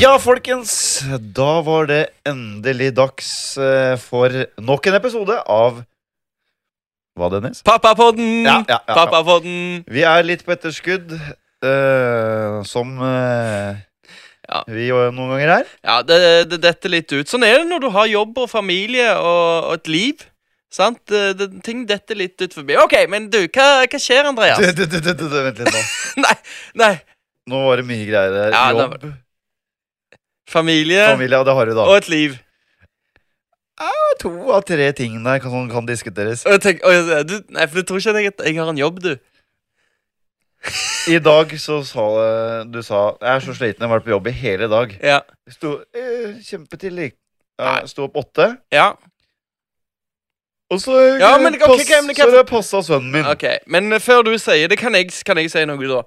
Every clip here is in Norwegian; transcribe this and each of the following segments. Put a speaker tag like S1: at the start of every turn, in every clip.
S1: Ja, folkens. Da var det endelig dags eh, for nok en episode av Hva, Dennis?
S2: Pappapodden!
S1: Ja, ja, ja, ja.
S2: Pappapodden!
S1: Vi er litt på etterskudd, eh, som eh,
S2: Ja.
S1: vi jo noen ganger er.
S2: Ja, det, det detter litt ut. Sånn er det når du har jobb og familie og, og et liv. Sant? Det, det, ting detter litt ut forbi. OK, men du, hva, hva skjer, Andreas?
S1: Du, du, du, du, du, du, vent litt nå.
S2: Nei, nei.
S1: Nå var det mye greier her.
S2: Ja, det
S1: Jobb,
S2: Familie,
S1: familie, ja, det har du da.
S2: og et liv.
S1: to av tre ting der kan, som kan diskuteres.
S2: Og jeg tenker, og, du, nei, for du tror ikke at jeg, jeg har en jobb, du?
S1: I dag så sa eh, du sa Jeg er så sliten, jeg har vært på jobb i hele dag.
S2: Ja.
S1: Sto eh, kjempetidlig.
S2: Nei.
S1: Ja, sto opp åtte.
S2: ja.
S1: Og så, eh,
S2: Ja, men det kan-
S1: pass,
S2: ok, men det kan-
S1: så det passa sønnen min.
S2: Ok, Men før du sier det, kan jeg, kan jeg si noe, da.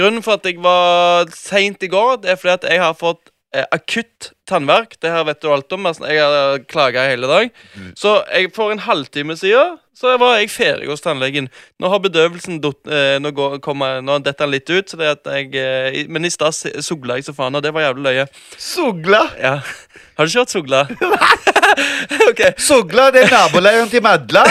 S2: Grunnen for at jeg var seint i går, det er fordi at jeg har fått eh, akutt tannverk. Det her vet du alt om. altså, Jeg har klaga hele dag.
S1: Mm.
S2: Så jeg for en halvtime siden så var jeg ferdig hos tannlegen. Nå har bedøvelsen dott- eh, Nå, går, kommer, nå detter den litt ut, så det at jeg eh, i- Men i stad se- sogla jeg så faen, og det var jævlig løye.
S1: Sogla!
S2: Ja. Har du ikke hørt sogla? ok.
S1: Sogla det er naboleiren til Madla.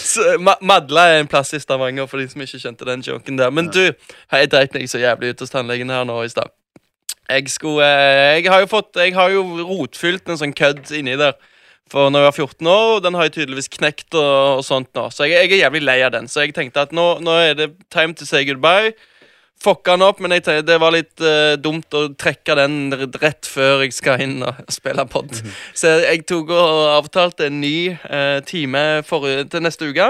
S2: Så, Ma Madla er en plass i Stavanger, for de som ikke skjønte den joken der. Men du, jeg dreit meg så jævlig ut hos tannlegen her nå i stad. Jeg skulle eh, Jeg har jo fått Jeg har jo rotfylt en sånn kødd inni der. For når jeg var 14 år, og den har jeg tydeligvis knekt og, og sånt nå. Så jeg, jeg er jævlig lei av den. Så jeg tenkte at nå, nå er det time to say goodbye. Fucka den opp, men jeg tenkte, det var litt eh, dumt å trekke den r- rett før jeg skal inn og spille pod. Så jeg tok og avtalte en ny eh, time forrige, til neste uke.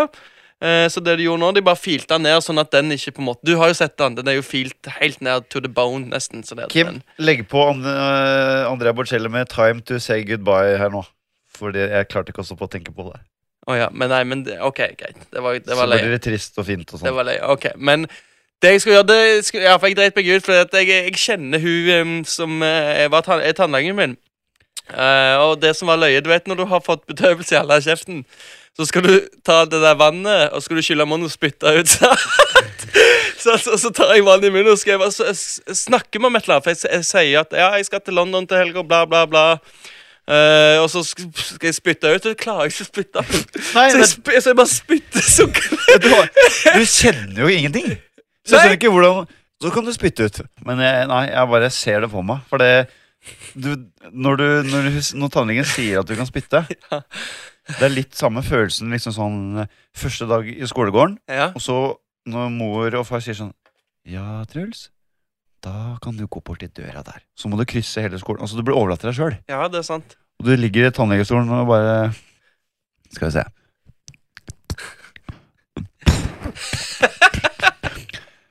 S2: Eh, så det de gjorde nå, de bare filte den ned, sånn at den ikke på en måte Du har jo sett den. Den er jo filt helt ned to the bone, nesten. Så det at
S1: Kim,
S2: den,
S1: legg på And øh, Andrea Bocelli med 'Time to say goodbye' her nå. Fordi jeg klarte ikke også på å tenke på det.
S2: Å ja, men nei, men det, ok, greit. Det var, det
S1: Så
S2: var
S1: blir
S2: løye.
S1: det trist og fint og
S2: Det
S1: sånn.
S2: var løye, ok. Men det jeg skulle gjøre, det skulle, ja, for jeg dreit meg ut, for at jeg, jeg kjenner hun em, som eh, var tann, er tannlegen min. Eh, og det som var løye, du vet når du har fått bedøvelse i hele kjeften, så skal du ta det der vannet, og skal du skylle munnen og spytte ut. sant? så, så, så tar jeg vannet i munnen og skal jeg bare s- s- snakke med om et eller annet, for jeg, s- jeg sier at ja, jeg skal til London til helga, bla, bla, bla. Eh, og så sk- skal jeg spytte ut, og det klarer jeg ikke å spytte ut.
S1: Nei,
S2: Så jeg,
S1: men-
S2: spy- så jeg bare spytter sukker.
S1: Du, har- du kjenner jo ingenting. Så jeg
S2: Nei.
S1: skjønner ikke hvordan Så kan du spytte ut. Men jeg, nei, jeg bare ser det på meg. For det du, Når, du, når, du- når tannlegen sier at du kan spytte Det er litt samme følelsen liksom sånn øh, første dag i skolegården.
S2: Ja.
S1: Og så når mor og far sier sånn Ja, Truls, da kan du gå bort til døra der. Så må du krysse hele skolen. Altså, du blir overlatt til deg sjøl.
S2: ja, det er sant.
S1: Og du ligger i tannlegestolen og bare Skal vi se.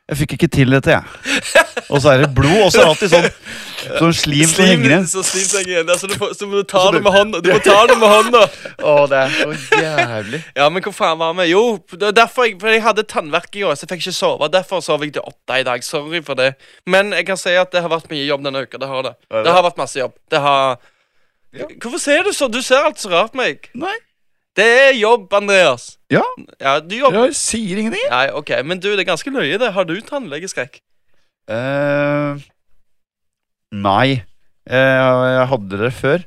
S1: Jeg fikk ikke til dette, jeg. Og så er det blod, og så er det alltid sånn Sånn slim som henger igjen.
S2: så slim som henger igjen der, så, du får, så må du ta
S1: Så du-
S2: det med hånda. Du må ta det med hånda.
S1: Å, det er så jævlig.
S2: Ja, men hvor faen var vi? Jo, det er derfor jeg, for jeg hadde tannverk i går, så jeg fikk ikke sove. Derfor sov jeg til åtte i dag. Sorry for det. Men jeg kan si at det har vært mye jobb denne uka. Det har det.
S1: Er det?
S2: Det har vært masse jobb. Det har
S1: Ja.
S2: Hvorfor ser du sånn? Du ser alt så rart på meg.
S1: Nei.
S2: Det er jobb, Andreas.
S1: Ja,
S2: Ja, du jobber.
S1: jeg sier ingenting.
S2: Nei, ok, men du, det er ganske løye, det. Har du tannlegeskrekk?
S1: eh nei. Eh, jeg hadde det før.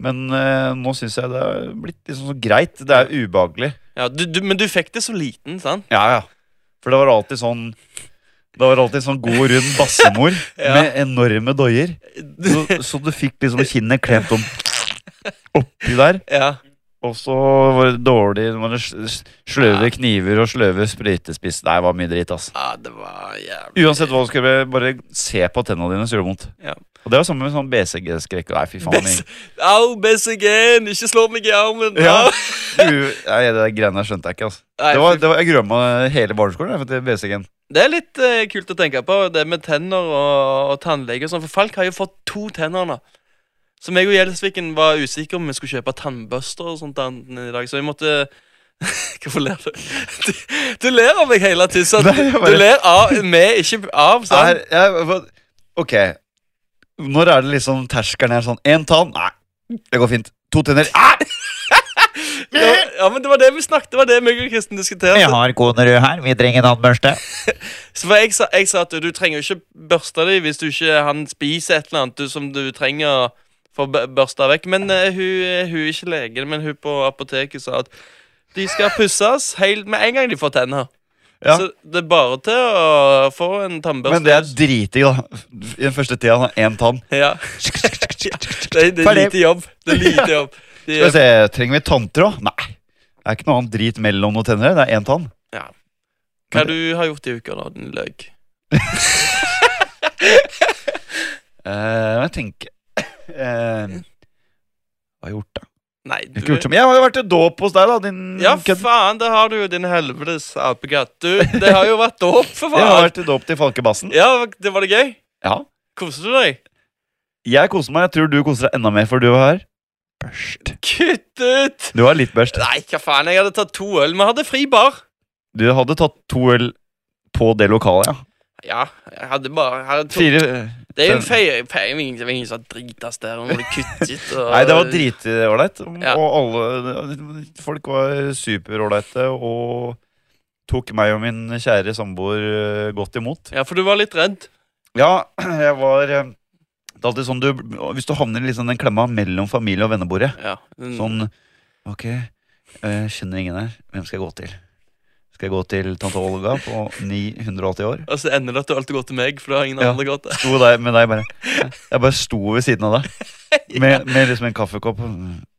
S1: Men eh, nå syns jeg det er blitt liksom så greit. Det er ubehagelig.
S2: Ja, du, du, men du fikk det så liten, sant?
S1: Ja, ja. For det var alltid sånn Det var alltid sånn god, rund bassemor
S2: Ja.
S1: med enorme doier. Så, så du fikk liksom kinnet klemt om oppi der.
S2: Ja.
S1: Og så var det dårlig det var sl- sløve kniver og sløve sprøytespiss. Nei, det var mye dritt, ass.
S2: Ja, det var jævlig
S1: Uansett hva du skal gjøre, bare se på tennene dine, så gjør det vondt.
S2: Ja.
S1: Og det er jo samme med sånn BCG-skrekk. Nei, fy faen.
S2: Bes- Au, Bessigen, ikke slå meg i armen!
S1: Ja.
S2: au.
S1: Du- Nei, det der greiene der skjønte jeg ikke, altså.
S2: Nei,
S1: Det var, det var, jeg grua meg hele barneskolen jeg, for til BCG-en.
S2: Det er litt eh, kult å tenke på, det med tenner og, og tannlege og sånn, for Falk har jo fått to tenner nå. Så meg og Gjelsviken var usikre om vi skulle kjøpe tannbørster og sånt annet i dag, så vi måtte Hvorfor ler du? Du, du ler av meg hele tiden. sant?
S1: Nei, jeg bare-
S2: Du ler av meg, ikke av. sant?
S1: Er- jeg- hva- Ok. Når er det liksom terskelen er sånn Én tann? Nei, det går fint. To tenner? Æ!
S2: Det var, ja, men det var det vi snakket Det var det meg og Kristen diskuterte.
S3: Vi har Konerud her, vi trenger en tannbørste.
S2: Så for jeg, sa, jeg sa at du trenger jo ikke børste deg hvis du ikke han spiser et eller annet du, som du trenger for å bø- børste vekk. Men eh, hun, eh, hun er ikke legen, men hun på apoteket sa at de skal pusses helt med en gang de får tenner.
S1: Ja.
S2: Så det er bare til å få en tannbørste.
S1: Men det er dritdigg, da. I den første tida, da. Én tann.
S2: ja. det, er- det er
S1: Ferdig.
S2: lite jobb. Det er lite jobb. De,
S1: Skal vi se, Trenger vi tanter òg? Nei. Det er ikke noe annet drit mellom noen tenner. Det er én tann.
S2: hva du har gjort i uka, da, din løk?
S1: Eh, jeg tenker eh, Hva har jeg gjort, da?
S2: Nei,
S1: Jeg har
S2: du
S1: ikke gjort så mye. Jeg har jo vært i dåp hos deg, da, din
S2: Ja,
S1: kødd.
S2: faen, det har du jo, din helvetes apekatt. Du, det har jo vært dåp, for
S1: Jeg har
S2: faen.
S1: vært i dåp til Falkebassen.
S2: Ja, det var det gøy?
S1: Ja.
S2: Koste du deg?
S1: Jeg koser meg. Jeg tror du koser deg enda mer, for du var her. Børst.
S2: Kutt ut!
S1: Du var litt børst.
S2: Nei, hva faen, jeg hadde tatt to øl. Vi hadde fri bar.
S1: Du hadde tatt to øl på det lokalet, ja.
S2: Ja, jeg hadde bare jeg hadde to.
S1: Fire
S2: Det er jo en feie. feie men ingen, ingen som dritas der. Og ble kuttet, og,
S1: Nei, det var dritålreit.
S2: Ja.
S1: Og alle eh, Folk var superålreite og tok meg og min kjære samboer eh, godt imot.
S2: Ja, for du var litt redd.
S1: Ja, jeg var eh, Det er alltid sånn du Hvis du havner i liksom den klemma mellom familie og vennebordet
S2: Ja. mm. den-
S1: Sånn Ok, jeg kjenner ingen her. Hvem skal jeg gå til? Skal jeg gå til tante Olga på 980 år?
S2: Og så ender det at du alltid går til meg, for du har ingen
S1: Ja.
S2: andre gått til.
S1: Sto der med deg bare Jeg bare sto ved siden av deg. Med, med liksom en kaffekopp.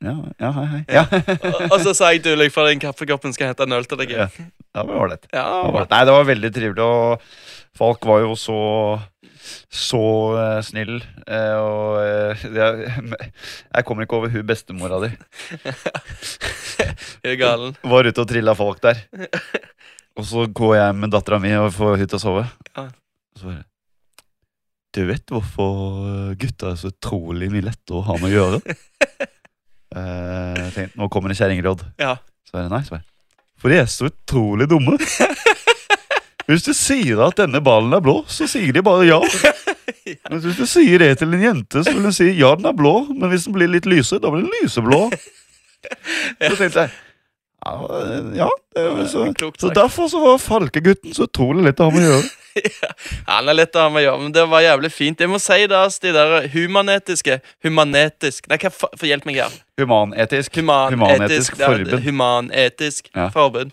S1: Ja, ja hei, hei. Ja,
S2: Og- Og så sa jeg til deg for den kaffekoppen skal jeg hente en øl til deg.
S1: Ja. det var ålreit.
S2: Ja,
S1: Det var- Nei, det var veldig trivelig, og Falk var jo så så eh, snill. eh, og eh, jeg, jeg kommer ikke over hun bestemora di.
S2: jeg er galen.
S1: Var ute og trilla folk der. Og så går jeg med dattera mi og får hun til å sove.
S2: Ja.
S1: Og så bare Du vet hvorfor gutta er så utrolig mye lettere å ha med å gjøre? Eh, jeg tenkte, nå kommer det kjerringråd.
S2: Ja.
S1: Så er det nei, så bare For de er så utrolig dumme. Hvis du sier at denne ballen er blå, så sier de bare ja. Men hvis du sier det til en jente, så vil hun si ja, den er blå, men hvis den blir litt lyse, da blir den lyseblå. Så tenkte jeg ja, ja det var så,
S2: Klokt
S1: så
S2: sagt.
S1: derfor så var Falkegutten så utrolig lett å ha med å gjøre.
S2: Han er lett å ha med å gjøre, men det var jævlig fint. Jeg må si det, ass, de der humanetiske Humanetisk Nei, hva fa... for hjelp meg her.
S1: Humanetisk.
S2: Humanetisk
S1: Humanetisk
S2: det er-
S1: forbund.
S2: Humanetisk
S1: Ja.
S2: forbund.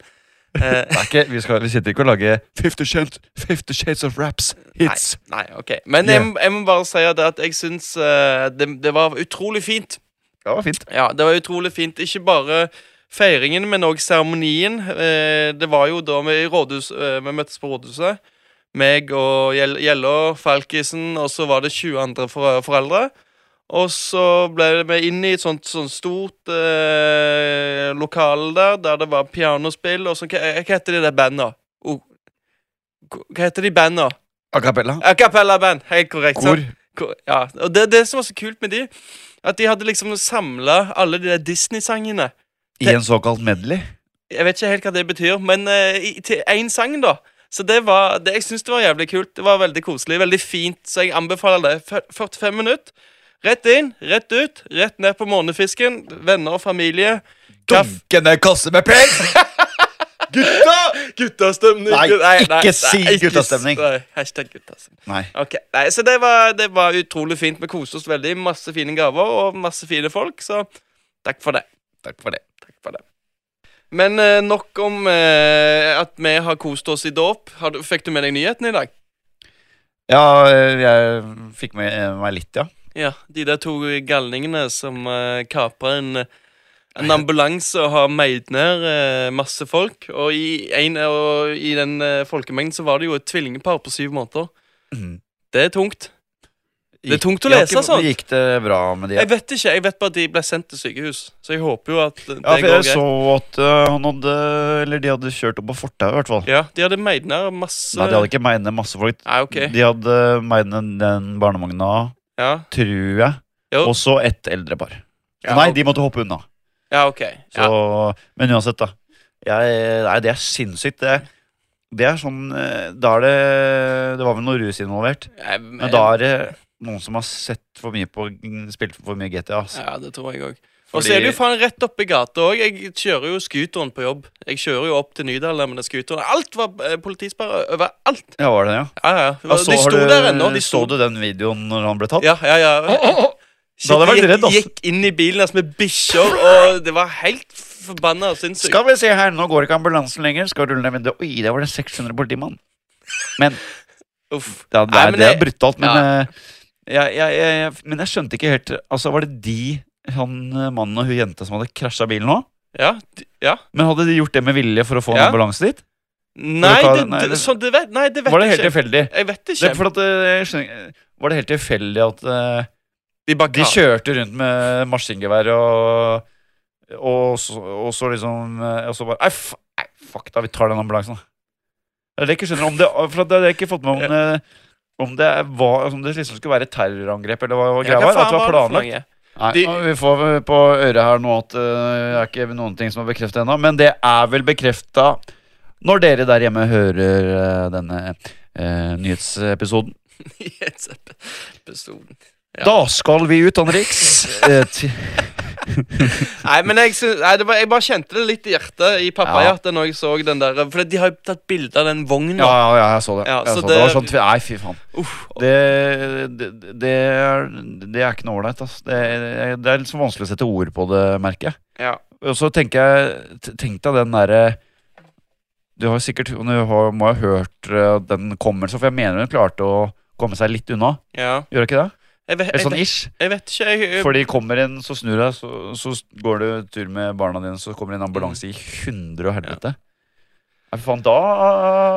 S2: Eh,
S1: Det er ikke, vi, skal, vi sitter ikke og lager Fifty Shades, 50 shades of Raps hits.
S2: nei, ok. Men jeg, må- jeg må bare si at at jeg syns eh, det, det var utrolig fint.
S1: Det var fint.
S2: Ja, det var utrolig fint. Ikke bare feiringen, men òg seremonien. Eh, det var jo da vi, i rådhus, eh, vi møttes på rådhuset. Meg og Gjell- Gjellå, Falkisen, og så var det 20 andre for, foreldre. Og så ble vi inn i et sånt, sånt stort eh, lokale der, der det var pianospill og så Hva, eh, hva heter de der banda? O- Hva heter de banda?
S1: A cappella.
S2: A cappella-band. Helt korrekt. sant?
S1: Kor.
S2: Ko- Ja, og det, det som var så kult med de At de hadde liksom samlet alle de der Disney-sangene
S1: I en såkalt medley.
S2: Jeg vet ikke helt hva det betyr Men eh, i, til en sang da Så det var, det, jeg synes det var jævlig kult Det var veldig koselig, veldig fint Så jeg anbefaler det, Fyr- 45 minutter Rett inn, rett ut, rett ned på månefisken Venner og familie Kaff-
S1: Dunkende kasse med penger! Gutta!
S2: Guttastemning
S1: Nei, ikke si guttastemning.
S2: nei, Hashtag guttastemning
S1: Nei.
S2: Ok, nei, så det var, det var utrolig fint. Vi koste oss veldig. Masse fine gaver og masse fine folk, så takk for det.
S1: Takk for det.
S2: Takk for det. Men eh, nok om eh, at vi har kost oss i dåp. Har du- Fikk du med deg nyheten i dag?
S1: Ja, jeg fikk med meg litt, ja.
S2: Ja, de der to galningene som uh, kapra en, en ambulanse og har meid ned eh, masse folk. Og i, en, og i den eh, folkemengden så var det jo et tvillingpar på syv måneder.
S1: Mhm.
S2: Det er tungt. Mm. Det er
S1: Gikk-
S2: tungt å
S1: ja,
S2: lese,
S1: ikke-
S2: sånn.
S1: Gikk det bra med de?
S2: Jeg vet ikke, jeg vet bare at de ble sendt til sykehus. Så jeg håper jo at det
S1: Ja, for
S2: går
S1: jeg
S2: greit.
S1: så at øh, han hadde Eller de hadde kjørt opp på fortauet, i hvert fall.
S2: Ja, de hadde meid ned masse
S1: Nei, de hadde ikke meid ned masse folk.
S2: Nei, ok.
S1: De hadde meid ned den barnevogna,
S2: Ja.
S1: tror jeg,
S2: Jo.
S1: og så et eldre par.
S2: Ja,
S1: nei,
S2: og-
S1: de måtte hoppe unna.
S2: ja, ok.
S1: Så, Men uansett, da. Jeg, nei, det er sinnssykt. Det, det er sånn eh, Da er det Det var vel noe rus involvert.
S2: Ja. Jeg-
S1: Men da er det noen som har sett for mye på Spilt for mye GTA. Altså.
S2: Ja, det tror jeg òg. Og så er det jo faen rett oppe i gata òg. Jeg kjører jo scooteren på jobb. Jeg kjører jo opp til Nydalen med den scooteren. Alt var eh, politisperre overalt.
S1: Ja, var det, ja.
S2: Ja, ja.
S1: ja så
S2: De
S1: har
S2: sto
S1: du-
S2: der ennå. De
S1: Så
S2: sto
S1: du den videoen når han ble tatt?
S2: Ja, ja, ja.
S1: Da hadde jeg vært redd, ass.
S2: Gikk, gikk inn i bilen hans med bikkjer, og det var helt forbanna sinnssykt.
S1: Skal vi se her, nå går ikke ambulansen lenger. Skal rulle ned vinduet. Oi, der var det 600 politimann. Men
S2: Uff.
S1: Ja, det,
S2: Nei,
S1: er,
S2: men
S1: det er
S2: det-
S1: brutalt, men,
S2: ja.
S1: eh, jeg, jeg, jeg, jeg, men jeg skjønte ikke helt Altså, Var det de, han eh, mannen og hun jenta som hadde krasja bilen nå?
S2: Ja, d- ja.
S1: Men hadde de gjort det med vilje for å få en
S2: Ja.
S1: ambulanse dit?
S2: Nei,
S1: ta-
S2: det,
S1: nei,
S2: det,
S1: det-
S2: sånn, det vet, nei, det vet
S1: Var det
S2: jeg
S1: helt
S2: ikke.
S1: tilfeldig?
S2: Jeg vet
S1: Det,
S2: ikke.
S1: er for at, eh, jeg skjønner, var det helt tilfeldig at eh,
S2: De bare
S1: de kjørte rundt med maskingevær og og så, og så liksom eh, Og så bare Nei, f- nei, fuck da, vi tar den ambulansen, da. Det er det jeg ikke skjønner om det For at det har jeg ikke fått med om eh, om det var Om det liksom skulle være et terrorangrep, eller hva hva
S2: Ja,
S1: greia
S2: hva
S1: var. At
S2: faen
S1: det var
S2: var det for
S1: planlagt.
S2: noe?
S1: Nei,
S2: De-
S1: og Vi får på øret her nå at eh, det er ikke noen ting som er bekreftet ennå, men det er vel bekrefta når dere der hjemme hører eh, denne eh, nyhetsepisoden.
S2: Nyhetsepisoden. Ja.
S1: Da skal vi ut, Anriks. Eh, ti-
S2: Nei, men jeg, syns- nei, det var, jeg bare kjente det litt i hjertet, i pappahjertet, når jeg så den der For de har jo tatt bilde av den
S1: ja,
S2: vogna.
S1: ja, ja, jeg så det.
S2: Ja,
S1: jeg
S2: så
S1: så det. det var
S2: det-
S1: sånn, tvi- nei, fy faen.
S2: Uff.
S1: Det, det, det, er, det er ikke noe ålreit. ass. Det, er- det er litt så vanskelig å sette ord på det, merker jeg.
S2: Ja.
S1: Og så tenker jeg t- Tenk deg den derre Du har jo sikkert og Du har, må ha hørt eh, at den kommer så For jeg mener hun klarte å komme seg litt unna
S2: ja.
S1: Gjør hun ikke det?
S2: Jeg, vet,
S1: Eller
S2: jeg,
S1: sånn
S2: vet,
S1: ish
S2: jeg vet ikke. Jeg, jeg,
S1: For de kommer inn, så snur deg så, så går du tur med barna dine Så kommer det en ambulanse i hundre og helvete Nei, for faen, da,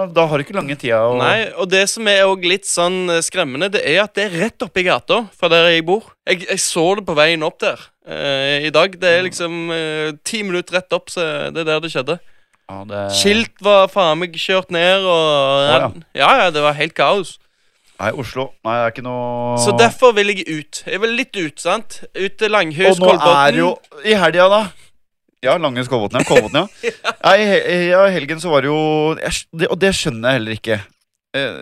S1: da har du ikke lange tida å-
S2: Nei, og det som er også litt sånn eh, skremmende, det er at det er rett oppi gata fra der jeg bor. Jeg, jeg så det på veien opp der eh, i dag. Det
S1: Mm.
S2: er liksom eh, ti minutter rett opp, så det er der det skjedde.
S1: ja, det,
S2: Skilt var faen meg kjørt ned, og ja, ja, det var helt kaos.
S1: Nei, Oslo Nei, det er ikke noe
S2: Så derfor vil jeg ut. Jeg vil litt ut, sant? Ut til Langhus,
S1: Og nå er
S2: Kolbotn.
S1: jo I helga, da. Ja, Langhus Kolbotn, ja. Kolbotn, ja. Nei, i he- ja, i helgen så var det jo jeg skj- det- Og det skjønner jeg heller ikke. Eh,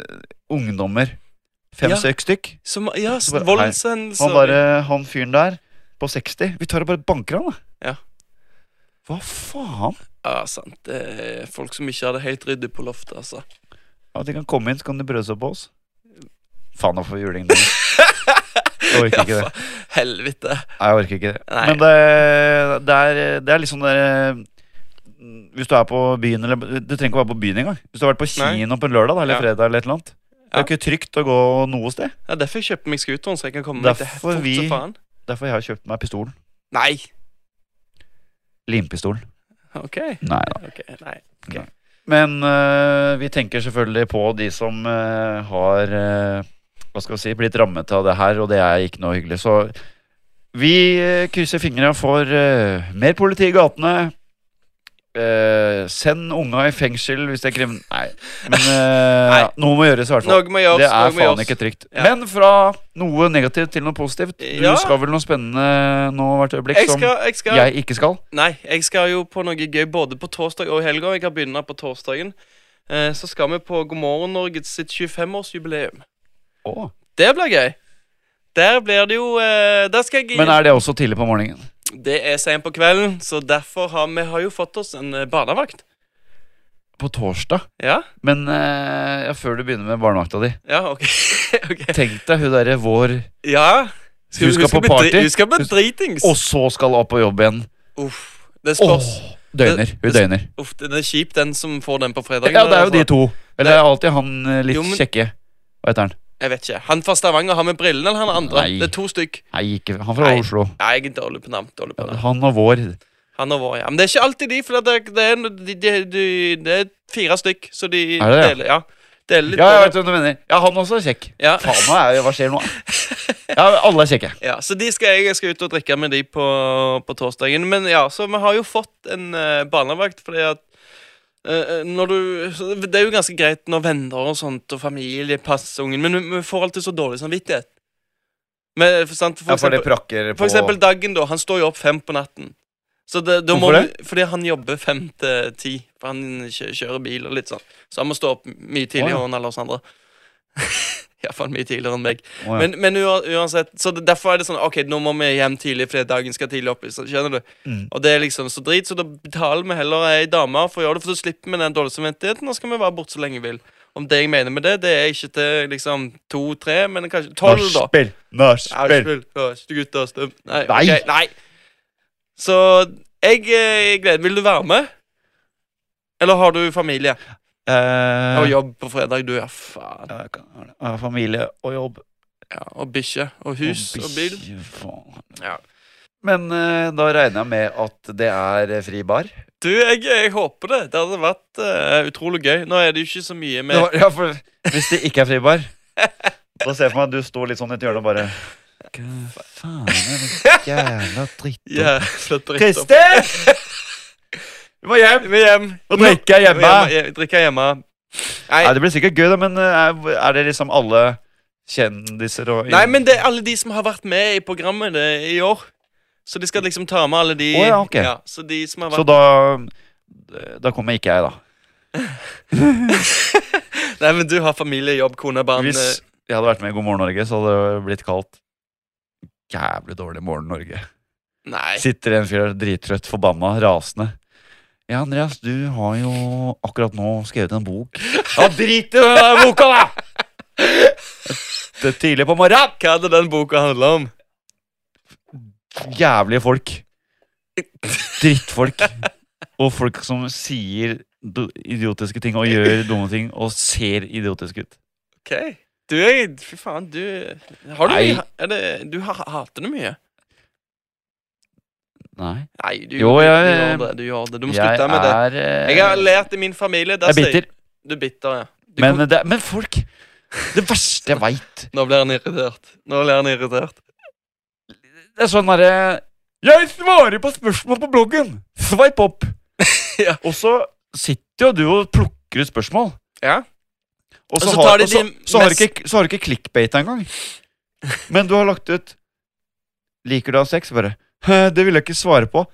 S1: ungdommer.
S2: Ja.
S1: Fem-seks stykk.
S2: Som, ja,
S1: Så bare- Han,
S2: voldshendelser.
S1: der, han fyren der på 60 Vi tar og bare banker han, da.
S2: Ja.
S1: Hva faen?
S2: Ja, sant. Det er folk som ikke hadde helt ryddig på loftet, altså.
S1: At de kan komme inn, så kan de brøde seg på oss. Faen, da får vi juling. Jeg orker ikke det.
S2: Helvete.
S1: Nei, jeg orker ikke det.
S2: Nei.
S1: Men det, det, er, det er liksom det der, eh, Hvis du er på byen eller Du trenger ikke å være på byen engang. Hvis du har vært på
S2: Nei.
S1: kino på en lørdag da, eller
S2: Ja.
S1: fredag eller et eller annet. Det er jo ikke trygt å gå noe sted.
S2: Ja, derfor jeg kjøpte meg scooteren, så jeg kan komme meg til
S1: Derfor
S2: fort som
S1: vi-
S2: faen.
S1: Derfor har jeg kjøpt meg pistolen.
S2: Nei.
S1: Limpistolen.
S2: OK.
S1: Nei da.
S2: ok, Nei.
S1: Men øh, vi tenker selvfølgelig på de som øh, har øh, Hva skal vi si blitt rammet av det her, og det er ikke noe hyggelig. Så vi øh, krysser fingra for øh, mer politi i gatene. Eh, send unga i fengsel hvis det er krim... Nei, men øh,
S2: Nei.
S1: Ja, noe må gjøres i hvert fall.
S2: Noe må gjøres.
S1: Det er
S2: noe må
S1: faen
S2: gjøres.
S1: ikke trygt.
S2: Ja.
S1: Men fra noe negativt til noe positivt. Du
S2: Ja.
S1: skal vel noe spennende nå hvert øyeblikk
S2: Jeg
S1: som
S2: skal, jeg skal
S1: jeg ikke skal?
S2: Nei, jeg skal jo på noe gøy både på torsdag og i helga. Jeg har begynt på torsdagen. Eh, så skal vi på God morgen Norge sitt 25-årsjubileum.
S1: Å.
S2: Det blir gøy. Der blir det jo eh, Der skal jeg
S1: Men er det også tidlig på morgenen?
S2: Det er sent på kvelden, så derfor har vi har jo fått oss en eh, barnevakt.
S1: På torsdag?
S2: Ja?
S1: Men eh, ja, før du begynner med barnevakta di
S2: Ja, OK. ok.
S1: Tenk deg hun derre vår
S2: Ja.
S1: Hun skal på
S2: bli dri-
S1: party,
S2: Hun skal bli dritings.
S1: og så skal hun opp på jobb igjen.
S2: Uff. Det
S1: Åh,
S2: spørs.
S1: døgner. Hun
S2: Det- det-
S1: døgner.
S2: Uff, den er kjip, den som får den på fredagen.
S1: Ja, det er jo
S2: altså.
S1: de to. Eller det er alltid han eh, litt
S2: Jo, men-
S1: kjekke. Hva heter han?
S2: Jeg vet ikke. Han fra Stavanger har med brillene, eller han andre?
S1: Nei.
S2: Det er to stykk.
S1: Nei, ikke Han fra
S2: Nei.
S1: Oslo.
S2: Nei, jeg er dårlig på navn. Dårlig på
S1: Ja,
S2: navn.
S1: Han og vår.
S2: Han og vår, ja. Men det er ikke alltid de, for det, er- det, er, de, de, de, det er fire stykk, så de
S1: Er det det?
S2: deler Ja, deler litt
S1: Ja, jeg
S2: på det.
S1: vet hvem du mener. Ja, han også er kjekk.
S2: Ja.
S1: Faen, hva er- hva skjer nå? Ja, alle er kjekke.
S2: ja, så de skal, jeg- jeg skal ut og drikke med de på, på torsdagen. Men ja, så vi har jo fått en eh, barnevakt fordi at eh, eh, når du, så Det er jo ganske greit når venner og sånt og familie passer ungen, men vi- vi får alltid så dårlig samvittighet. Men, for, sant, for
S1: Ja, for
S2: eksempel,
S1: det prakker på
S2: For eksempel dagen, da. Han står jo opp fem på natten. Så det, da må
S1: Hvorfor
S2: vi- Fordi han jobber fem til ti. For han kjø- kjører bil og litt sånn. Så han må stå opp mye
S1: Å,
S2: tidligere
S1: ja.
S2: enn alle oss andre. Iallfall mye tidligere enn meg.
S1: Å, ja.
S2: Men, men ua- uansett, så det, derfor er det sånn Ok, nå må vi hjem tidlig fordi dagen skal tidlig opp. Så, skjønner du?
S1: Mm.
S2: Og det er liksom så drit, så da betaler vi heller ei dame for å gjøre det, for så slipper vi den dårlige samvittigheten, og så kan vi være borte så lenge vi vil. Om det jeg mener med det, det er ikke til liksom to-tre, men kanskje tolv, da.
S1: Nachspiel! Nachspiel!
S2: Nachspiel. Første gutter, stum. Nei.
S1: Nei.
S2: ok, nei. Så jeg, eh, gleder Vil du være med? Eller har du familie og
S1: Eh,
S2: jobb på fredag? Du, ja, faen.
S1: jeg kan- jeg har familie og jobb.
S2: Ja, og bikkje og hus og bil.
S1: bikkje, faen.
S2: Ja.
S1: Men eh, da regner jeg med at det er eh, fri bar?
S2: Du, jeg, jeg håper det. Det hadde vært eh, utrolig gøy. Nå er det jo ikke så mye med
S1: Det var, ja, for hvis det ikke er fri bar, da ser jeg for meg at du står litt sånn i et hjørne og bare Hva faen er det jævla dritt
S2: Jævla dritt. opp.
S1: Kristin! Vi må hjem!
S2: Vi er hjem.
S1: Nå drikker jeg hjemme.
S2: Vi er hjem- Drikker hjemme. Nei.
S1: Nei, Det blir sikkert gøy, da, men eh, er er det liksom alle kjendiser og
S2: Nei, men det er alle de som har vært med i programmet det, i år. Så de skal liksom ta med alle de
S1: Å ja, ok.
S2: Så de som har vært
S1: Så da Da kommer ikke jeg, da.
S2: Nei, men du har familie, jobb, kone, barn
S1: Hvis
S2: eh,
S1: jeg hadde vært med i God morgen Norge, så hadde det blitt kalt Jævlig dårlig Morgen Norge.
S2: Nei.
S1: Sitter en fyr der drittrøtt, forbanna, rasende. Ja, Andreas, du har jo akkurat nå skrevet en bok. Ja, drit i den boka, da! Det er tidlig på morgenen.
S2: Hva hadde den boka handla om?
S1: Jævlige folk. Drittfolk. Og folk som sier do- idiotiske ting og gjør dumme ting og ser idiotiske ut.
S2: Ok Du er Fy faen, du Har du
S1: Nei.
S2: mye er det, Du har hater det mye?
S1: Nei.
S2: Nei, du,
S1: Jo, jeg-
S2: du, gjør det. Du gjør det. Du må
S1: jeg
S2: slutte med det.
S1: er, eh,
S2: Jeg har lært i min familie der
S1: Jeg er
S2: sier-
S1: bitter.
S2: Du er bitter, ja. Du
S1: Men, eh,
S2: kom-
S1: det, men folk Det verste jeg veit,
S2: Nå blir han irritert. Nå blir han irritert.
S1: det er sånn derre Jeg svarer på spørsmål på bloggen! Sveip opp!
S2: Ja.
S1: Og så sitter jo du og plukker ut spørsmål.
S2: Ja.
S1: Og så,
S2: Og så tar
S1: har,
S2: de
S1: og så,
S2: de
S1: så, har du
S2: mest-
S1: ikke, så har du ikke clickbait engang. Men du har lagt ut 'Liker du å ha sex?' bare «Hæ, 'Det vil jeg ikke svare på'.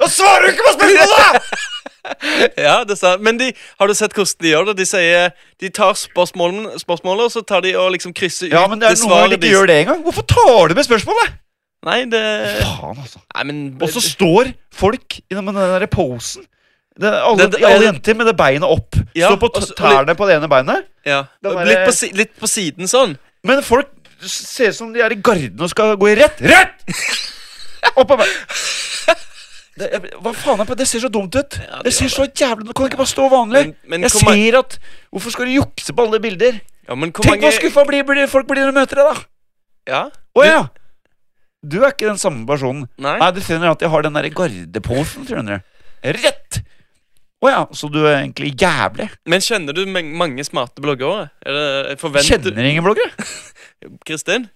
S1: Da svarer du ikke på spørsmålet!
S2: Ja, det sa Men de, har du sett hvordan de gjør det? De sier De tar spørsmålene, spørsmålet, og så tar de og liksom krysser ut
S1: Ja, men det er noen ganger de ikke gjør det engang. Hvorfor tar du med spørsmålet?
S2: Nei, det
S1: Faen, altså.
S2: Nei, men
S1: Og så står folk i den- med den der posen. Det, er alle,
S2: Det- det-
S1: alle jenter med det beinet opp.
S2: Ja,
S1: står på
S2: og
S1: t-
S2: så-
S1: tærne på det ene beinet.
S2: Ja.
S1: Det er bare-
S2: Litt, på si, litt på siden sånn.
S1: Men folk ser ut som de er i garden og skal gå i rett. Rett! Opp av meg. Det, jeg, hva faen er på? det ser så dumt ut.
S2: Ja, det
S1: det ser
S2: gjør
S1: så jævlig Kan det ikke bare stå vanlig?
S2: Men- men
S1: jeg
S2: hvor ma-
S1: ser at Hvorfor skal du jukse på alle bilder?
S2: Ja, men hvor
S1: Tenk
S2: mange
S1: hva skuffa blir, blir, folk blir når de møter deg, da.
S2: Ja?
S1: Å ja. Du er ikke den samme personen.
S2: Nei?
S1: Nei, du finner at jeg har den der gardeposen, skjønner du. Rett! Å ja, så du er egentlig jævlig.
S2: Men kjenner du men- mange smarte bloggere? Er det, jeg forventer
S1: Kjenner ingen bloggere.
S2: Kristin?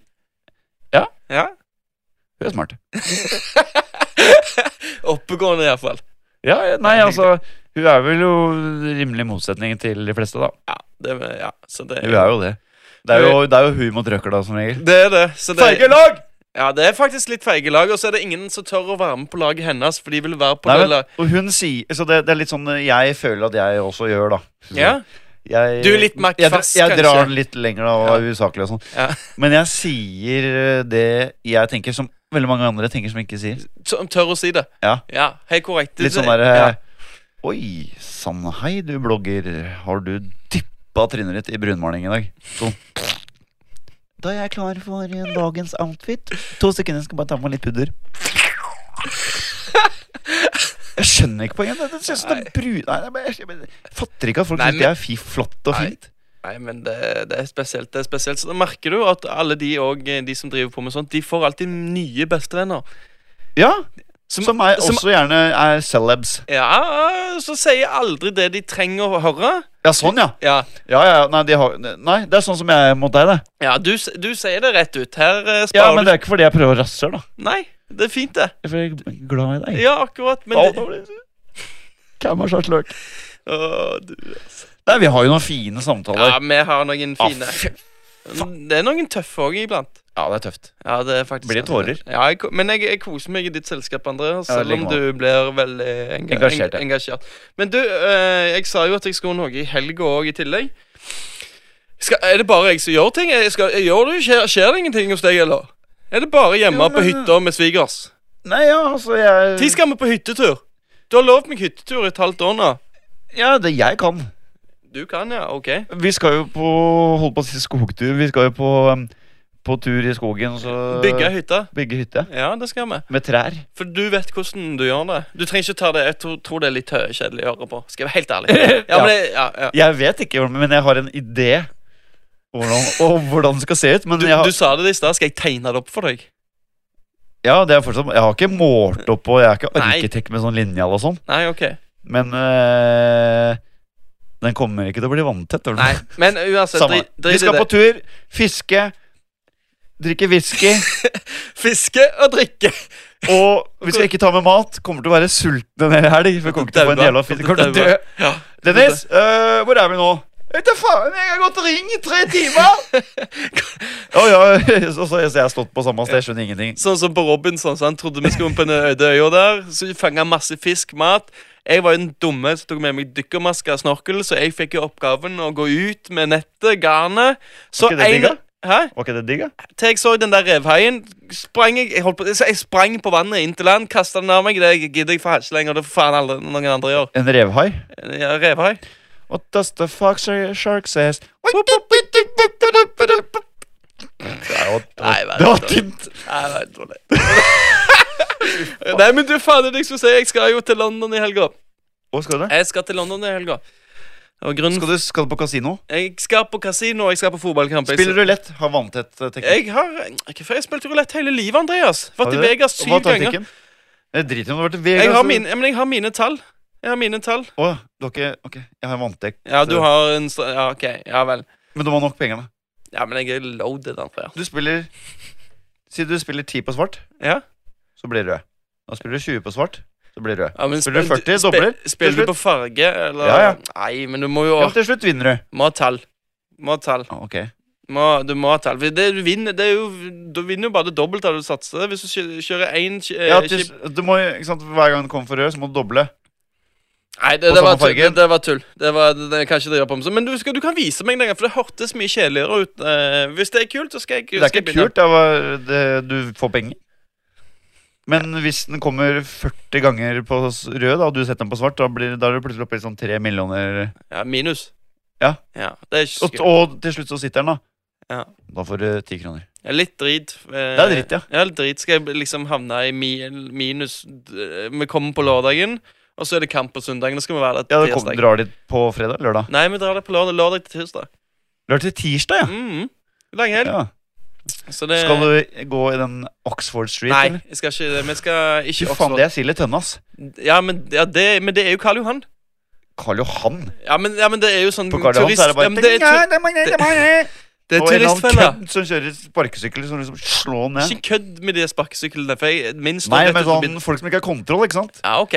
S1: Ja.
S2: ja?
S1: Hun er smart.
S2: Oppegående, iallfall.
S1: Ja, ja, nei, altså Hun er vel jo rimelig motsetning til de fleste, da. Eh,
S2: Ja, det, ja, så det
S1: Hun er jo det. Det er jo, det er jo hun mot røkla, som regel.
S2: Det er det. Så det
S1: Feige lag!
S2: Ja, det er faktisk litt feige lag, og så er det ingen som tør å være med på laget hennes, for de vil være på
S1: Nei, men,
S2: det laget.
S1: og hun sier Så det, det er litt sånn eh, jeg føler at jeg også gjør, da.
S2: Ja?
S1: Jeg,
S2: Du er litt Mac
S1: jeg,
S2: Fast,
S1: jeg
S2: kanskje?
S1: drar den litt lenger da, og
S2: Ja.
S1: er usaklig og sånn.
S2: Ja.
S1: Men jeg sier eh, det jeg tenker, som veldig mange andre tenker som ikke sier.
S2: Som tør å si det.
S1: Ja.
S2: Ja, helt korrekt.
S1: Litt sånn der
S2: ja.
S1: eh, Oi sann, hei du blogger. Har du dyppa trynet ditt i brunmaling i dag? Sånn. Da er jeg klar for eh, dagens outfit. To sekunder, jeg skal bare ta på meg litt pudder. Jeg skjønner ikke poenget. Det, det, synes det er bru... Nei, jeg, bare- jeg, bare- jeg fatter ikke at folk
S2: Nei,
S1: syns det
S2: men-
S1: er fi, flott og
S2: Nei.
S1: fint.
S2: Nei, men det, det er spesielt. Det er spesielt. Så da merker du at alle de og eh, de som driver på med sånt, de får alltid nye bestevenner.
S1: Ja,
S2: Som-
S1: Som er,
S2: som-
S1: også gjerne er celebs.
S2: Ja, så sier aldri det de trenger å høre.
S1: Ja, sånn, ja.
S2: Ja,
S1: ja, ja nei, de har, nei, det er sånn som jeg er mot deg, det.
S2: ja du, s- du sier det rett ut. Her eh,
S1: Ja,
S2: sparer
S1: Men det er ikke fordi jeg prøver å rasshøl, da.
S2: du Nei, det er fint, det.
S1: Det er fordi Jeg er glad i deg.
S2: Ja, akkurat, men det, Åh, du.
S1: Nei, vi har jo noen fine samtaler.
S2: Ja, vi har noen
S1: Ah,
S2: fine
S1: fy-
S2: Det er noen tøffe òg iblant.
S1: ja, det er tøft.
S2: Ja, det er faktisk
S1: Blir det tårer?
S2: Ja, jeg, ko- men jeg, jeg koser meg i ditt selskap, Andreas.
S1: Ja,
S2: Selv
S1: like
S2: om
S1: måte.
S2: du blir veldig enga
S1: Engasjert,
S2: engasjert,
S1: ja.
S2: engasjert. Men du, eh, jeg sa jo at jeg skulle noe i helga òg, i tillegg. Jeg skal, er det bare jeg som gjør ting? Jeg skal, jeg gjør det, jo- skjer, skjer det ingenting hos deg, eller? Er det bare hjemme
S1: Jo,
S2: på
S1: men-
S2: hytta med svigers?
S1: Nei, ja, altså jeg
S2: Tid skal vi på hyttetur. Du har lovt meg hyttetur i et halvt år nå.
S1: Ja, det jeg kan.
S2: Du kan, ja. Ok.
S1: Vi skal jo på Holdt på å si skogtur. Vi skal jo på, um, på tur i skogen. og Så
S2: Bygge ei hytte.
S1: bygge hytte.
S2: Ja, det skal vi.
S1: Med trær.
S2: For du vet hvordan du gjør det. Du trenger ikke ta det. Jeg tror, tror det er litt hø- kjedelig å høre på. Skal jeg være helt ærlig. Ja, men det, ja, ja.
S1: Jeg vet ikke, hvordan- men jeg har en idé hvordan, om hvordan det skal se ut. Men
S2: Du,
S1: jeg har,
S2: du sa det i stad. Skal jeg tegne det opp for deg?
S1: ja, det er fortsatt, jeg har ikke målt opp, og jeg er ikke
S2: Nei.
S1: arkitekt med sånn linjal og sånn.
S2: Nei, ok.
S1: Men øh, den kommer ikke til å bli vanntett. eller
S2: Nei,
S1: noe.
S2: Men uansett,
S1: Samme.
S2: drit
S1: Vi
S2: drit i
S1: skal på
S2: det.
S1: tur, fiske, drikke whisky,
S2: Fiske og drikke.
S1: og vi skal ikke ta med mat. Kommer til å være sultne en hel helg. for vi Kommer til å få en
S2: Daua.
S1: jævla fisk. Kommer til å dø.
S2: Daua. Ja.
S1: Dennis, øh, hvor er vi nå? Vet du faen, jeg har gått ring i tre timer! Å ja, så, så, så jeg har stått på samme sted, jeg skjønner ingenting.
S2: Sånn som på Robinson. Så han trodde vi skulle på den øde øya der. Så fanga masse fisk, mat. Jeg var jo den dumme som tok med meg dykkermaske og snorkel, så jeg fikk jo oppgaven å gå ut med nettet, garnet. Så
S1: Var ikke det digg,
S2: en Hæ?
S1: Var ikke det digg, da?
S2: Til jeg så den der revhaien, sprang jeg jeg, holdt på, så jeg sprang på vannet inn til land, kasta den av meg. Det gidder jeg for ikke lenger. Det får faen aldri noen andre gjøre.
S1: En revhai?
S2: Ja, revhai.
S1: What does the fuck sh- shark says?
S2: Nei,
S1: Det
S2: vent,
S1: var
S2: da.
S1: tynt.
S2: Nei, det var helt dårlig. Nei, men du faen, det er det jeg skulle si. Jeg skal jo til London i helga.
S1: Hva skal du?
S2: Jeg skal til London i helga. Og grunnen
S1: Skal du, skal du på kasino?
S2: Jeg skal på kasino, og jeg skal på fotballkamp. Jeg-
S1: Spiller du lett? Har vanntett eh, teknikk?
S2: Jeg har ikke før jeg spilte rulett hele livet, Andreas. Vært
S1: Har
S2: i
S1: du det?
S2: Vegas
S1: Hva
S2: syv
S1: er
S2: ganger.
S1: taktikken? Jeg driter i om du har vært i Vegas.
S2: Jeg har,
S1: eller-
S2: mine, ja, men jeg har mine tall. Jeg har mine tall.
S1: Å, du har ikke Ok, jeg har vanntett.
S2: Ja, du har en stra- Ja, OK. Ja vel.
S1: Men du må ha nok penger, da.
S2: Ja, men jeg er loaded, Andreas.
S1: Du spiller Si du spiller 10 på svart,
S2: Ja?
S1: så blir rød. Da spiller du 20 på svart, så blir rød.
S2: ja men
S1: Spiller du 40,
S2: spe-
S1: dobler?
S2: Spiller
S1: Til
S2: du på farge, eller
S1: Ja, ja.
S2: Nei, men du må jo
S1: Ja, men til slutt vinner du.
S2: Må ha tall. Må ha tall.
S1: Ah, ok.
S2: Må, du må ha tall. For Det du vinner, det er jo Du vinner jo bare det dobbelte av det du satser. Hvis du kjø- kjører én eh,
S1: Ja, til, du må, ikke sant, Hver gang du kommer for rød, så må du doble.
S2: Nei, det,
S1: på
S2: det,
S1: samme
S2: var tull, det,
S1: fargen.
S2: det var tull. Det var, det, det kan ikke drive på med sånn. Men du, skal, du kan vise meg den gangen, for det hørtes mye kjedeligere ut. Eh, hvis det er kult, så skal jeg
S1: Det er
S2: skal jeg
S1: ikke
S2: begynne.
S1: kult. Det var, det, du får penger. Men hvis den kommer 40 ganger på s- rød, da, og du setter den på svart, da, blir, da er du plutselig oppe i sånn 3 millioner.
S2: Ja, minus.
S1: Ja.
S2: Det er ikke så
S1: Og,
S2: kult.
S1: og til slutt så sitter den, da.
S2: Ja.
S1: Da får du 10 kroner.
S2: Ja, Litt drit. eh,
S1: Det er dritt, ja.
S2: Ja, litt drit. Skal jeg liksom havne i mi minus d- Vi kommer på lørdagen, og så er det kamp på søndagen. Da skal vi være der
S1: Ja,
S2: til
S1: du kom,
S2: tirsdag.
S1: Drar dit på fredag? Lørdag?
S2: Nei, vi drar der på lørdag, lørdag til tirsdag.
S1: Lørdag til tirsdag, ja.
S2: Mm. Lang helg.
S1: ja.
S2: Så det
S1: Skal du gå i den Oxford Street?
S2: Nei,
S1: eller?
S2: jeg skal ikke det. Vi skal ikke
S1: Fy faen, det er sild i tønne, ass.
S2: Ja, men, ja, det, men det er jo Karl Johan.
S1: Karl Johan.
S2: Ja, men, ja, men det er jo sånn
S1: På Karl Johan så er det bare
S2: ja, men det er, tur- det er
S1: Og en eller annen
S2: turistfella.
S1: kødd som kjører sparkesykkel, som liksom slår den ned.
S2: Ikke kødd med de sparkesyklene. For jeg minst
S1: Nei, men sånn folk som ikke har kontroll, ikke sant.
S2: Ja, ok.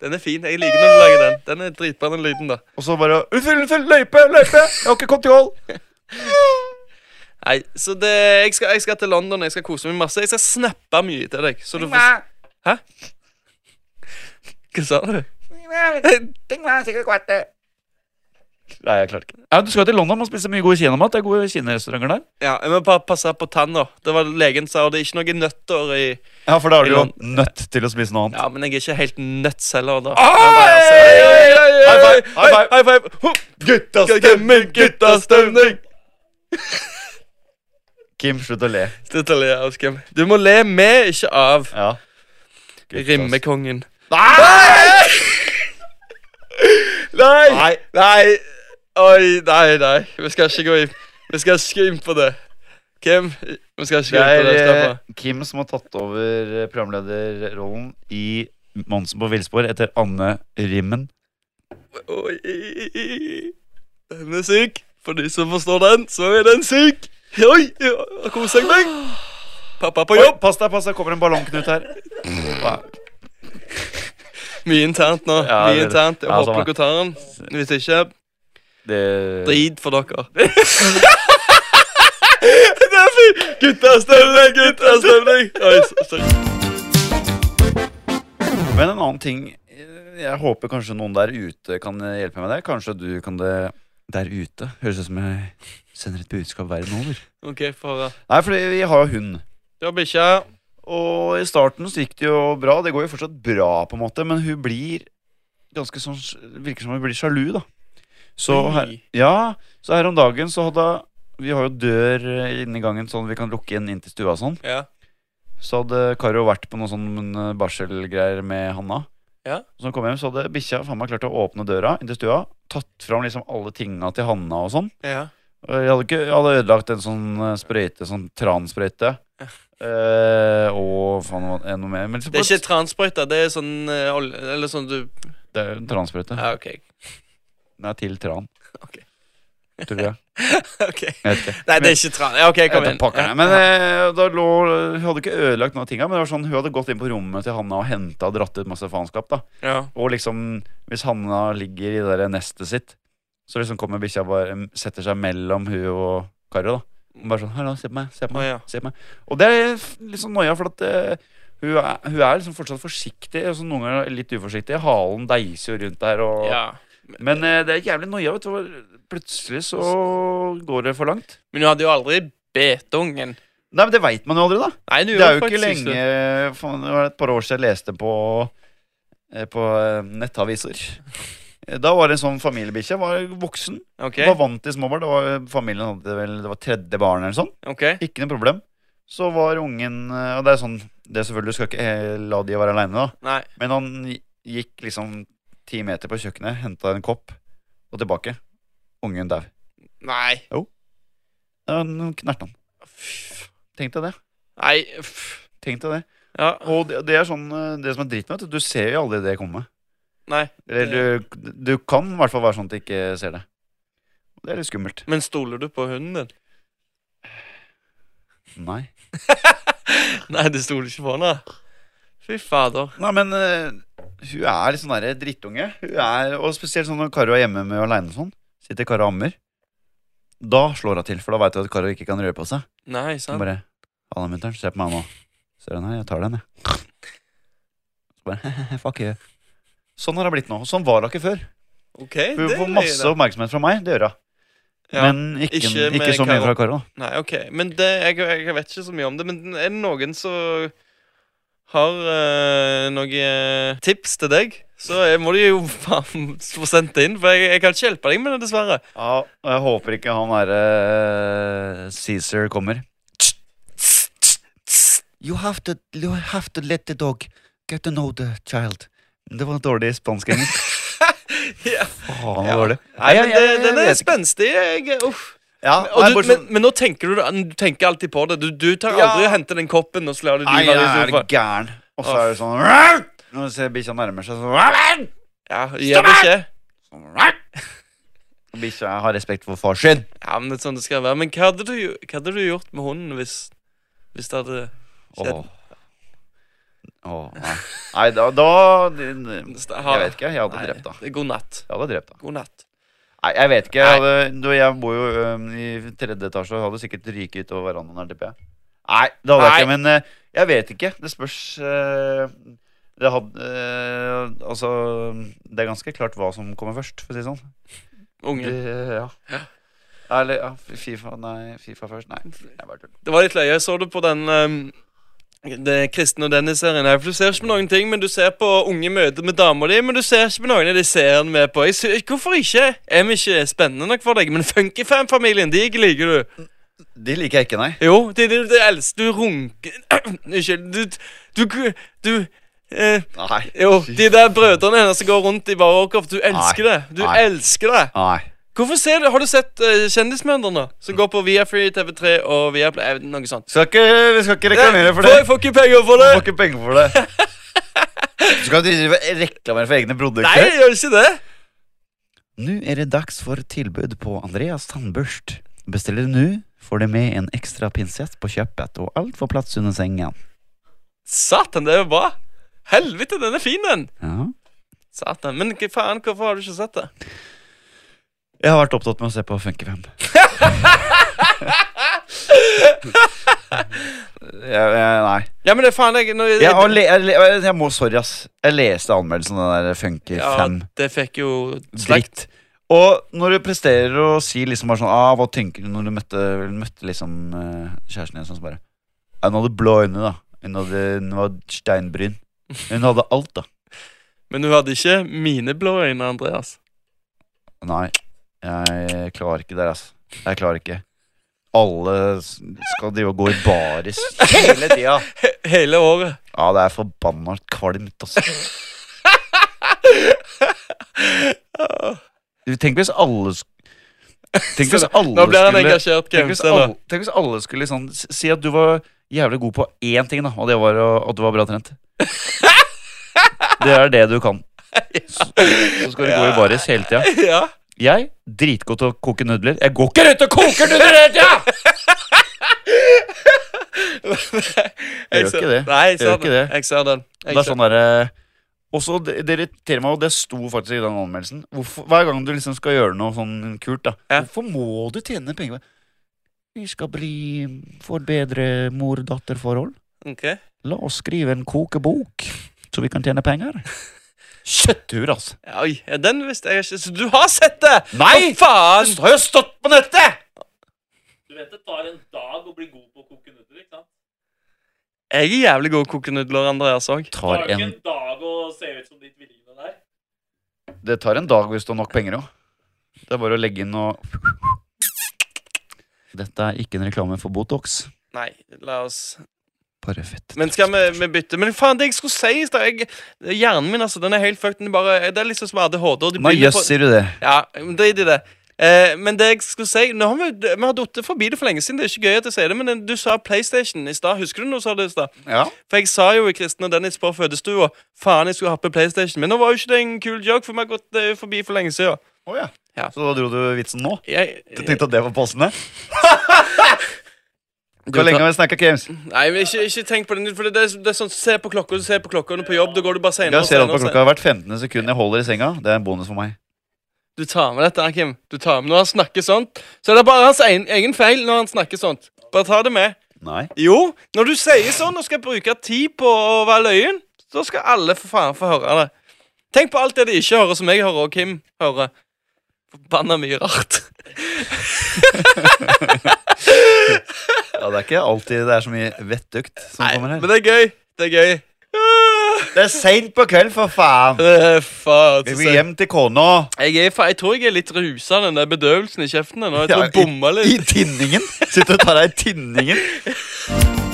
S2: Den er fin. Jeg liker når du lager den. Den er dritbra, den lyden, da.
S1: Og så bare Unnskyld, unnskyld, løype, løype! Jeg har ikke kontroll!
S2: Nei, så det, jeg, skal, jeg skal til London, jeg skal kose meg masse. Jeg skal snappe mye til deg. Så du får, hva sa du?
S1: Nei, jeg klarte ikke. Ja, du skal til London og spise mye god kinamat. Det er gode kinarestauranter der.
S2: Ja, Jeg må bare passe på tanna. Det var Legen sa og det er ikke noen nøtter i
S1: Ja, for da er du jo
S2: I
S1: nødt til å spise noe annet.
S2: Ja, men jeg er ikke helt nøtts heller, da.
S1: High five, high five.
S2: High five! Ho!
S1: Gutta
S2: Guttastemning, guttastemning!
S1: Kim, slutt å le.
S2: Slutt å le, Askem. Du må le med, ikke av.
S1: Ja.
S2: Rimmekongen.
S1: Nei!
S2: Nei!
S1: Nei.
S2: Nei! Oi, nei, nei. Vi skal ikke gå inn Vi skal ikke inn på det. Kim, vi skal ikke
S1: Det
S2: gå
S1: er
S2: inn på det.
S1: eh,
S2: Slapp av.
S1: Kim som har tatt over eh, programlederrollen i Monsen på villspor etter Anne Rimmen.
S2: Oi. Den er syk. For de som forstår den, så er den syk. Oi, ja, kos meg. Pappa på
S1: Oi,
S2: jobb.
S1: pass deg, pass deg, kommer en ballongknut her.
S2: Mye internt nå.
S1: Ja,
S2: Mye
S1: det-
S2: internt. Jeg
S1: ja,
S2: håper
S1: sånn er.
S2: dere tar den. Hvis ikke,
S1: Det...
S2: drit for dere. det er fint! Guttastemning, guttastemning. Oi, så- sorry.
S1: Men en annen ting eh, Jeg håper kanskje noen der ute kan eh, hjelpe meg med det. Kanskje du kan det Der ute. Høres ut som jeg sender et budskap verden over.
S2: OK, få høre.
S1: Nei, for vi har jo hund.
S2: Du har bikkja.
S1: Og i starten så gikk det jo bra. Det går jo fortsatt bra, på en måte, men hun blir ganske sånn Virker som hun blir sjalu, da. Så
S2: Oi.
S1: her, ja, så her om dagen så hadde Vi har jo dør eh, inne i gangen sånn vi kan lukke inn inn til stua og sånn.
S2: Ja.
S1: Så hadde Karo vært på noen sånn eh, barselgreier med Hanna.
S2: Ja.
S1: Så når hun kom hjem, så hadde bikkja faen meg klart å åpne døra inn til stua. Tatt fram liksom alle tinga til Hanna og sånn.
S2: ja.
S1: Og Jeg hadde, ikke, jeg hadde ødelagt en sånn eh, sprøyte, sånn transprøyte. Eh, og faen, hva- eh, noe mer. Men liksom
S2: Det er
S1: bare-
S2: ikke transprøyte, det er sånn eh, olje Eller sånn du
S1: det er en transprøyte.
S2: Ja, OK.
S1: Nei, til tran.
S2: Ok.
S1: Tror jeg.
S2: Ok.
S1: jeg vet ikke.
S2: Nei, det er ikke tran. Ja, OK, kom
S1: Jeg vet
S2: inn.
S1: da pokker,
S2: Ja.
S1: Men eh, da lå Hun hadde ikke ødelagt noen av tinga, men det var sånn, hun hadde gått inn på rommet til Hanna og henta og dratt ut masse faenskap. da
S2: Ja.
S1: Og liksom, hvis Hanna ligger i det der nestet sitt, så liksom kommer bikkja bare setter seg mellom hun og Karo. da Og Bare sånn 'Hallo, se på meg, se på meg'.
S2: Å, ja.
S1: Se på meg. Og det er f- litt sånn noia, for at eh, hun, er, hun er liksom fortsatt forsiktig. Og så noen ganger litt uforsiktig. Halen deiser jo rundt der. Og,
S2: ja.
S1: Men eh, det er jævlig noia. vet du for Plutselig så går det for langt.
S2: Men du hadde jo aldri betungen.
S1: Nei, men Det veit man jo aldri, da.
S2: Nei, du
S1: Det er jo
S2: faktisk
S1: ikke lenge faen, Det var et par år siden jeg leste på eh, På eh, nettaviser. Eh, Da var det en sånn familiebikkje. Var voksen.
S2: OK.
S1: Var vant til småbarn. Det var, familien hadde vel Det var tredje barn eller sånn.
S2: ok
S1: Ikke noe problem. Så var ungen eh, Og det er sånn Det er selvfølgelig Du skal ikke eh, la de være aleine, da.
S2: Nei.
S1: Men han gi- gikk liksom ti meter på kjøkkenet, henta en kopp, og tilbake. Ungen dau.
S2: Nei.
S1: Han knerte han. Tenk deg det.
S2: Nei. pff.
S1: Tenk deg det.
S2: Ja.
S1: Og det, det er sånn eh, Det som er dritten, vet du, du ser jo aldri det komme.
S2: Nei.
S1: Eller du, du kan i hvert fall være sånn at du ikke ser det. Og Det er litt skummelt.
S2: Men stoler du på hunden din?
S1: Nei.
S2: Nei, du stoler ikke på henne. Fy fader.
S1: Nei, men eh, hun er litt sånn derre drittunge. Hun er, og spesielt sånn når Karo er hjemme med aleine sånn. Sitter Karo og ammer. Da slår hun til, for da veit hun at Karo ikke kan røre på seg.
S2: Nei,
S1: Hun
S2: sant?
S1: bare Halla, mutter'n. Se på meg nå. Ser du den her? Jeg tar den, jeg. Så bare Fuck you. Sånn har det blitt nå. Sånn var det ikke før.
S2: OK,
S1: Hun
S2: det
S1: får
S2: er
S1: masse
S2: løye, da.
S1: oppmerksomhet fra meg. Det gjør hun.
S2: Ja.
S1: Men ikke, ikke,
S2: ikke med
S1: så mye
S2: Karo.
S1: fra Karo. da.
S2: Nei, ok. Men det, jeg, jeg vet ikke så mye om det. Men er det noen som har eh, noen tips til deg, så eh, må du jo faen få sendt det inn. For jeg, jeg kan ikke hjelpe deg med det, dessverre.
S1: Ja, og jeg håper ikke han derre Cæsar kommer. You have, to, you have to let the dog get to know the child. Det var dårlig spansk-engelsk.
S2: Ja.
S1: Faen, det
S2: Ja.
S1: var dårlig.
S2: Nei, men
S1: Jeg- jeg-
S2: det,
S1: jeg
S2: den er
S1: vet ikke.
S2: spenstig. Jeg, uff.
S1: Ja,
S2: Og
S1: nei,
S2: du,
S1: bare
S2: men,
S1: sånn-
S2: men nå tenker du Du tenker alltid på det. Du, du tar
S1: Ja.
S2: aldri og henter den koppen og slår du
S1: Nei,
S2: dyna
S1: jeg
S2: i
S1: er
S2: sofaen.
S1: gæren. Og så
S2: Åh.
S1: er det sånn "Rau!" Når du ser bikkja nærmer seg, så
S2: Ja, gir beskjed.
S1: "Rau!" Bikkja har respekt for far sin.
S2: Ja, men det er sånn det skal være. Men hva hadde du, gjo- hva hadde du gjort med hunden hvis, hvis det hadde skjedd?
S1: Åh. Åh, nei. nei, da, da Jeg vet ikke. Jeg hadde drept, da.
S2: Nei, god natt.
S1: Jeg hadde drept, da.
S2: God natt.
S1: Nei, jeg vet ikke.
S2: Nei.
S1: Jeg, hadde, du, jeg bor jo øhm, i tredje etasje og hadde sikkert ryket utover verandaen her, tipper jeg. Nei, det hadde jeg ikke. Men øh, jeg vet ikke. Det spørs øh, det hadde, øh, Altså, det er ganske klart hva som kommer først, for å si det sånn.
S2: Unge.
S1: Det, ja. Eller ja, Fifa Nei, Fifa først. Nei, jeg bare tuller.
S2: Det var litt løye. Jeg så du på den ehm, det Kristen og Dennis-serien her. For Du ser ikke på noen ting, men du ser på unge møter med dama di. Men du ser ikke på noen av de seriene vi er på. Jeg sy- hvorfor ikke? Er vi ikke spennende nok for deg? Men Funkyfam-familien, de liker du.
S1: De liker jeg ikke, nei.
S2: Jo, de, de, de elsker Du runker Unnskyld. Du Du, du, eh,
S1: Nei.
S2: Jo, de der brødrene hennes som går rundt i varekoff. Du elsker
S1: Nei.
S2: det. Du
S1: Nei.
S2: elsker det.
S1: Nei.
S2: Hvorfor ser du, Har du sett uh, Kjendismødrene? Som går på Viafree, TV3 og Viaplay. eh, Noe sånt. Eh,
S1: Skal ikke, vi skal ikke reklamere for
S2: Får-
S1: det.
S2: Jeg får ikke penger for
S1: Vi
S2: det!
S1: Får ikke penger for det. Du skal drive reklamere for egne produkter.
S2: Nei, jeg gjør ikke det.
S1: Nå er det dags for tilbud på Andreas tannbørst. Bestiller du nå, får du med en ekstra pinsett på kjøpet, og alt får plass under sengen.
S2: Satan, det er jo bra. Helvete, den er fin, den.
S1: Ja.
S2: Satan, Men hva faen, hvorfor har du ikke sett det?
S1: Jeg har vært opptatt med å se på Funkyfam. jeg, jeg, nei.
S2: Ja, men det er faen jeg, når,
S1: Jeg, har le, jeg, le, jeg må, sorry, ass. Jeg leste anmeldelsen av den der Funky
S2: Ja,
S1: 5.
S2: det fikk jo slakt.
S1: Dritt. Og når du presterer å si liksom bare sånn ah, Hva tenker du når du møtte, møtte liksom eh, kjæresten din? Sånn så bare «Ja, Hun hadde blå øyne, da. Hun hadde, hun var steinbryn. Hun hadde alt, da.
S2: Men hun hadde ikke mine blå øyne, Andreas.
S1: Nei, jeg klarer ikke der, altså. Jeg klarer ikke. Alle s- skal drive og gå i baris hele tida.
S2: He hele året.
S1: Ja, det er forbanna kvalmt, altså. Tenk hvis alle sk- Tenk hvis alle
S2: Nå blir han
S1: skulle sånn
S2: engasjert,
S1: Tenk hvis,
S2: Games. eller?
S1: alle, tenk hvis alle skulle liksom s- si at du var jævlig god på én ting, da, og det var å- at du var bra trent. Det er det du kan. Så, så skal du gå i baris hele tida.
S2: Ja.
S1: Jeg dritgod til å koke nudler. Jeg går ikke rundt og koker nudler hele tida!
S2: Jeg
S1: Gjør
S2: ser-
S1: ikke det.
S2: Nei, jeg ser
S1: Gjør ikke
S2: den.
S1: det.
S2: Jeg ser den.
S1: Det
S2: Jeg
S1: er
S2: ser-
S1: sånn derre og så det det irriterer meg, og det sto faktisk i den anmeldelsen hvorfor, Hver gang du liksom skal gjøre noe sånn kult, da
S2: Ja.
S1: hvorfor må du tjene penger? på- Vi skal bli få et bedre mor-datter-forhold.
S2: Ok.
S1: La oss skrive en kokebok, så vi kan tjene penger. Kjøttur, altså.
S2: Oi, ja, den visste jeg ikke. Så du har sett det!
S1: Nei!
S2: Å, faen!
S1: har jo stått på nettet!
S4: Du vet det tar en dag å bli god på å koke nudler, ikke sant?
S2: Jeg er jævlig god til å koke nudler, Andreas òg.
S4: Det tar
S1: Tar
S4: jo ikke
S1: en,
S4: en dag å se ut som ditt villingene der.
S1: det tar en dag hvis du har nok penger òg. Det er bare å legge inn og Dette er ikke en reklame for Botox.
S2: Nei, la oss
S1: Bare fett.
S2: Men skal vi, vi bytte Men faen, det jeg skulle si i stad jeg- Hjernen min, altså, den er helt fucked. Den bare, det er liksom som ADHD. Og de
S1: Nei,
S2: begynner
S1: jøss,
S2: på-
S1: sier du det.
S2: Ja, men drit i det. Eh, men det jeg skulle si Nå har vi, vi har datt forbi det for lenge siden. Det er ikke gøy at jeg sier det, men den- du sa PlayStation i stad. Husker du når du sa det i stad?
S1: Ja.
S2: For jeg sa jo i Kristen og Dennis på fødestua Faen, jeg skulle hatt på PlayStation. Men nå var jo ikke det en kul joke, for vi har gått eh, forbi for lenge siden.
S1: Oh, ja.
S2: Ja.
S1: Så da dro du vitsen nå?
S2: Jeg,
S1: Du tenkte at det var passende?
S2: Du
S1: Hvor lenge har vi snakka games?
S2: Nei, men ikke, ikke tenk på det. For det, det, er, det er sånn Se på klokka, du ser på klokka, og på jobb, da går du bare
S1: Jeg
S2: senere. og
S1: ser alt
S2: senere
S1: på
S2: og senere.
S1: klokka. Hvert 15. sekund jeg holder i senga, det er en bonus for meg.
S2: Du tar med dette, her, Kim. Du tar med Når han snakker sånt, så er det bare hans egen, egen feil når han snakker sånt. Bare ta det med.
S1: Nei.
S2: Jo, når du sier sånn og skal bruke tid på å være løyen, så skal alle for faen få høre det. Tenk på alt det de ikke hører, som jeg hører, og Kim hører. Forbanna mye rart.
S1: Ja, det er ikke alltid det er så mye vettugt som
S2: Nei,
S1: kommer her.
S2: men det er gøy. Det er gøy. Ah,
S1: Det er seint på kveld, for faen!
S2: eh, Faen.
S1: Vi
S2: så
S1: vil
S2: søt.
S1: hjem til kona.
S2: Jeg, er, fa- jeg tror jeg er litt rusa av den der bedøvelsen i kjeften ennå. Jeg tror jeg
S1: Ja, i-
S2: bomma
S1: I
S2: litt.
S1: tinningen. Sitter og tar deg i tinningen.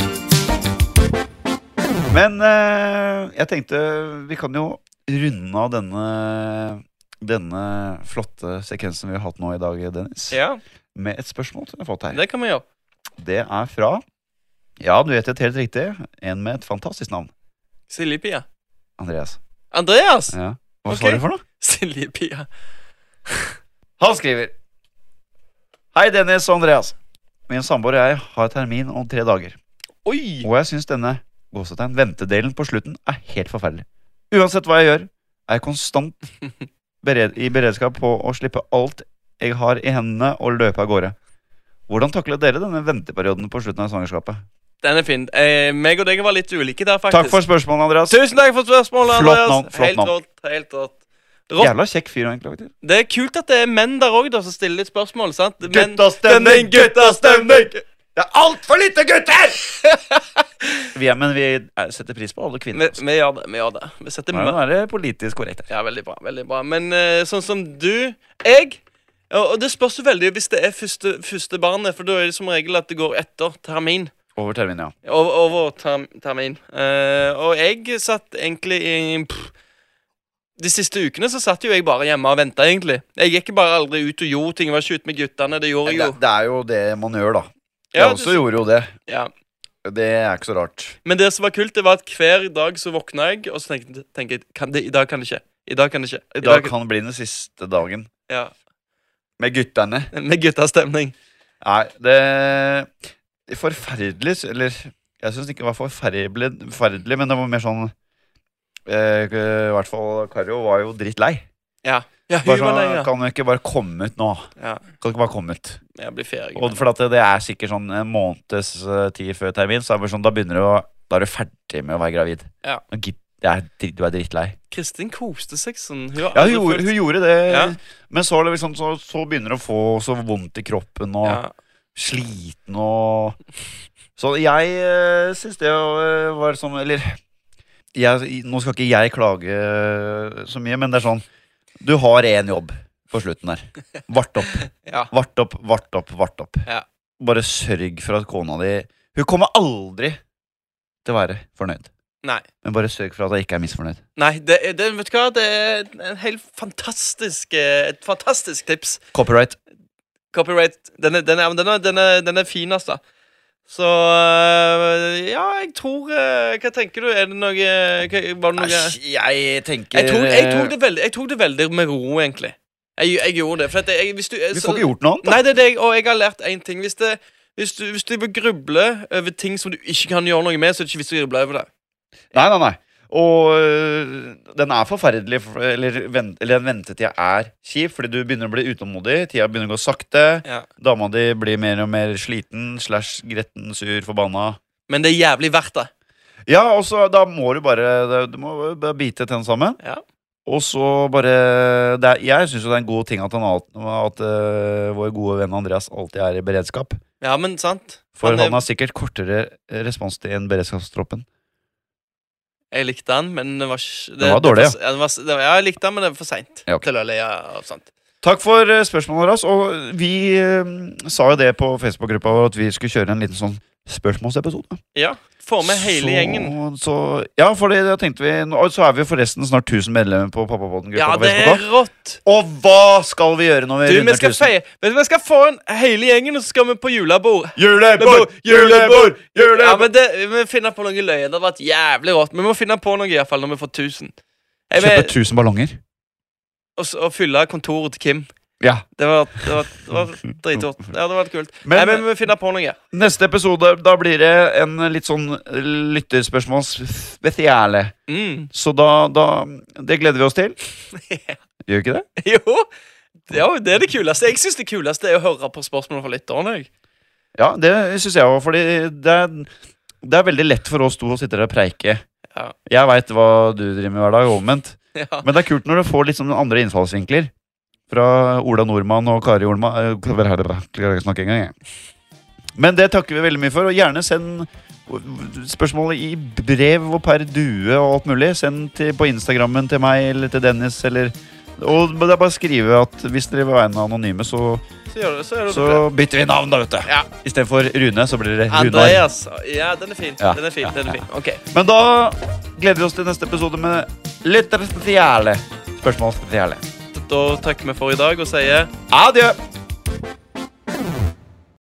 S1: Men eh, jeg tenkte vi kan jo runde av denne denne flotte sekvensen vi har hatt nå i dag, Dennis,
S2: Ja,
S1: med et spørsmål som jeg har fått her.
S2: det kan vi gjøre.
S1: Det er fra Ja, du vet et helt riktig. En med et fantastisk navn.
S2: Siljepia.
S1: Andreas.
S2: Andreas!
S1: Ja. Hva
S2: Ok.
S1: svarer du for noe?
S2: Siljepia.
S1: Han skriver Hei Dennis og Andreas Min samboer og jeg har termin om tre dager
S2: Oi!
S1: Og jeg synes denne gåsetegn, ventedelen på slutten er helt forferdelig Uansett hva jeg gjør Er jeg konstant bered i beredskap på å slippe alt jeg har i hendene Og løpe av gårde Hvordan taklet dere denne venteperioden på slutten av svangerskapet?
S2: Den er fin. Eh, meg og deg var litt ulike der, faktisk.
S1: Takk for spørsmålet, Andreas
S2: Tusen takk for spørsmålet,
S1: Flott
S2: Andreas.
S1: navn, flott
S2: helt
S1: navn.
S2: rått. helt rått. Rått.
S1: Jævla kjekk fyr, egentlig faktisk.
S2: Det er kult at det er menn der òg som stiller litt spørsmål. sant? Men-
S1: Guttastemning,
S2: Men- guttastemning!
S1: Det er alt for lite gutter! vi er, men vi er- setter pris på alle
S2: Vi,
S1: kvinner altså.
S2: vi gjør det. vi gjør det. Vi setter
S1: Nå
S2: mer
S1: er det politisk korrekt her.
S2: Ja, veldig bra. veldig bra. Men eh, sånn som du Jeg og og det spørs jo veldig hvis det er første, første barnet, for da er det som regel at det går etter termin.
S1: Over termin, ja.
S2: Over, over term, termin. Eh, og jeg satt egentlig i pff, De siste ukene så satt jo jeg bare hjemme og venta, egentlig. Jeg gikk bare aldri ut og gjorde ting. Jeg var ikke ute med guttene. Det gjorde jeg jo.
S1: Det, det er jo det man gjør, da. Jeg
S2: Ja,
S1: også
S2: det-
S1: gjorde jo det.
S2: ja.
S1: Det er ikke så rart.
S2: Men det som var kult, det var at hver dag så våkna jeg, og så tenkte, tenkte jeg kan det, I dag kan det skje. I dag kan det skje.
S1: I dag kan det bli den siste dagen
S2: Ja,
S1: med guttene.
S2: Med guttastemning.
S1: Nei, det det er Forferdelig s- Eller jeg syns ikke det var forferdelig, forferdelig, men det var mer sånn eh, I hvert fall Karo var jo drittlei.
S2: Ja, hun
S1: Bare
S2: var lei,
S1: sånn,
S2: ja.
S1: kan du ikke bare komme ut nå?
S2: ja.
S1: Kan du ikke bare komme ut?
S2: Jeg blir ferdig.
S1: Og for at det, det er sikkert sånn en måneds eh, tid før termin, så er det bare sånn, da begynner du å Da er du ferdig med å være gravid.
S2: Ja.
S1: Nå gidder det er, dritt- du er drittlei.
S2: Kristin koste seg sånn. Hun har
S1: Ja, hun,
S2: aldri
S1: gjorde-
S2: følt-
S1: hun gjorde det,
S2: Ja.
S1: men så, er det liksom, så, så begynner hun å få så vondt i kroppen og
S2: ja.
S1: sliten og Så jeg uh, syns det eh, var sånn Eller jeg, nå skal ikke jeg klage så mye, men det er sånn Du har én jobb på slutten der. Vart opp,
S2: ja.
S1: vart opp, vart opp. vart opp
S2: Ja.
S1: Bare sørg for at kona di Hun kommer aldri til å være fornøyd.
S2: Nei.
S1: Men bare sørg for at hun ikke er misfornøyd.
S2: Nei, det, er- det, vet du hva? Det er en helt fantastisk, eh, et fantastisk tips.
S1: Copyright.
S2: Copyright. Den er, den er, den er, den er, den er fin, altså. Så eh, Ja, jeg tror eh, Hva tenker du? Er det noe hva- Var det noe
S1: Æsj, jeg tenker eh,
S2: jeg eh, tok, jeg, tok det veldig, jeg tok det veldig med ro, egentlig. Jeg, jeg gjorde det. For at jeg, hvis du,
S1: Vi får ikke gjort noe annet. da.
S2: Nei, det er det jeg, og jeg har lært én ting. Hvis, det, hvis, du, hvis du grubler over ting som du ikke kan gjøre noe med, så er det ikke vits å gruble over det.
S1: Nei, nei, nei. Og øh, den er forferdelig, for- eller, vent, eller den ventetida er kjip, fordi du begynner å bli utålmodig, tida begynner å gå sakte,
S2: Ja.
S1: dama di blir mer og mer sliten, slash gretten, sur, forbanna.
S2: Men det er jævlig verdt det.
S1: Ja, og så da må du bare Du må bare bite tennene sammen.
S2: Ja.
S1: Og så bare det er, Jeg syns jo det er en god ting at, han, al- at øh, vår gode venn Andreas alltid er i beredskap.
S2: Ja, men sant.
S1: For
S2: Han
S1: han,
S2: er-
S1: har sikkert kortere responstid enn beredskapstroppen.
S2: Jeg likte den, men det var ikke
S1: Den var dårlig,
S2: det var- ja. Den var, det var, ja, jeg likte den, men det var for seint
S1: Ja, ok.
S2: til å le av sånt.
S1: Takk for eh, spørsmålet deres. Og vi eh, sa jo det på Facebook-gruppa vår at vi skulle kjøre en liten sånn spørsmålsepisode.
S2: Ja. Få med hele gjengen.
S1: Så, så, ja, for det tenkte vi nå- Og så er vi jo forresten snart 1000 medlemmer på Pappapodden-gruppa.
S2: Ja,
S1: på
S2: det er
S1: Facebook også.
S2: rått!
S1: Og hva skal vi gjøre når vi
S2: Du, vi
S1: runder
S2: skal,
S1: 1000?
S2: feie, vet du, vi skal få en hele gjengen, og så skal vi på julebord.
S1: Julebord! Julebord!
S2: Ja,
S1: Julebord!
S2: men det, Vi må finne på noe løye. Det hadde vært jævlig rått. Men vi må finne på noe i hvert fall når vi får 1000. Jeg
S1: Kjøpe
S2: vil-
S1: 1000 ballonger.
S2: og s- og fylle kontoret til Kim.
S1: Ja.
S2: Det var, det var, det var dritrått. Ja, det hadde vært kult.
S1: Men-
S2: Nei, men vi må finne på noe.
S1: Neste episode, da blir det en litt sånn lytterspørsmål spesiale.
S2: Mm.
S1: Så da, da Det gleder vi oss til. Gjør vi ikke det?
S2: Jo. jo, det er det kuleste. Jeg syns det kuleste er å høre på spørsmål fra lytterne. jeg.
S1: Ja, det syns jeg òg, fordi det er, det er veldig lett for oss to å sitte der og preike.
S2: Ja.
S1: Jeg veit hva du driver med hver dag, og omvendt.
S2: Ja.
S1: Men det er kult når du får litt sånn andre innfallsvinkler. Fra Ola Nordmann og Kari Olman eh, Klarer ikke å snakke engang, jeg. Men det takker vi veldig mye for. Og gjerne send spørsmålet i brev og per due og alt mulig. Send til, på Instagrammen til meg eller til Dennis eller Og det er bare å skrive at hvis dere vil være anonyme, så,
S2: Så gjør du så gjør du det.
S1: så bytter vi navn, da, vet du.
S2: Ja.
S1: Istedenfor Rune, så blir det Runar.
S2: Andreas. Ja, den er fin.
S1: Ja.
S2: Den er fin. den er fin. Ok.
S1: Men da gleder vi oss til neste episode med litt spesiale spørsmål. Spesiale.
S2: Da takker vi for i dag og sier
S1: Adjø!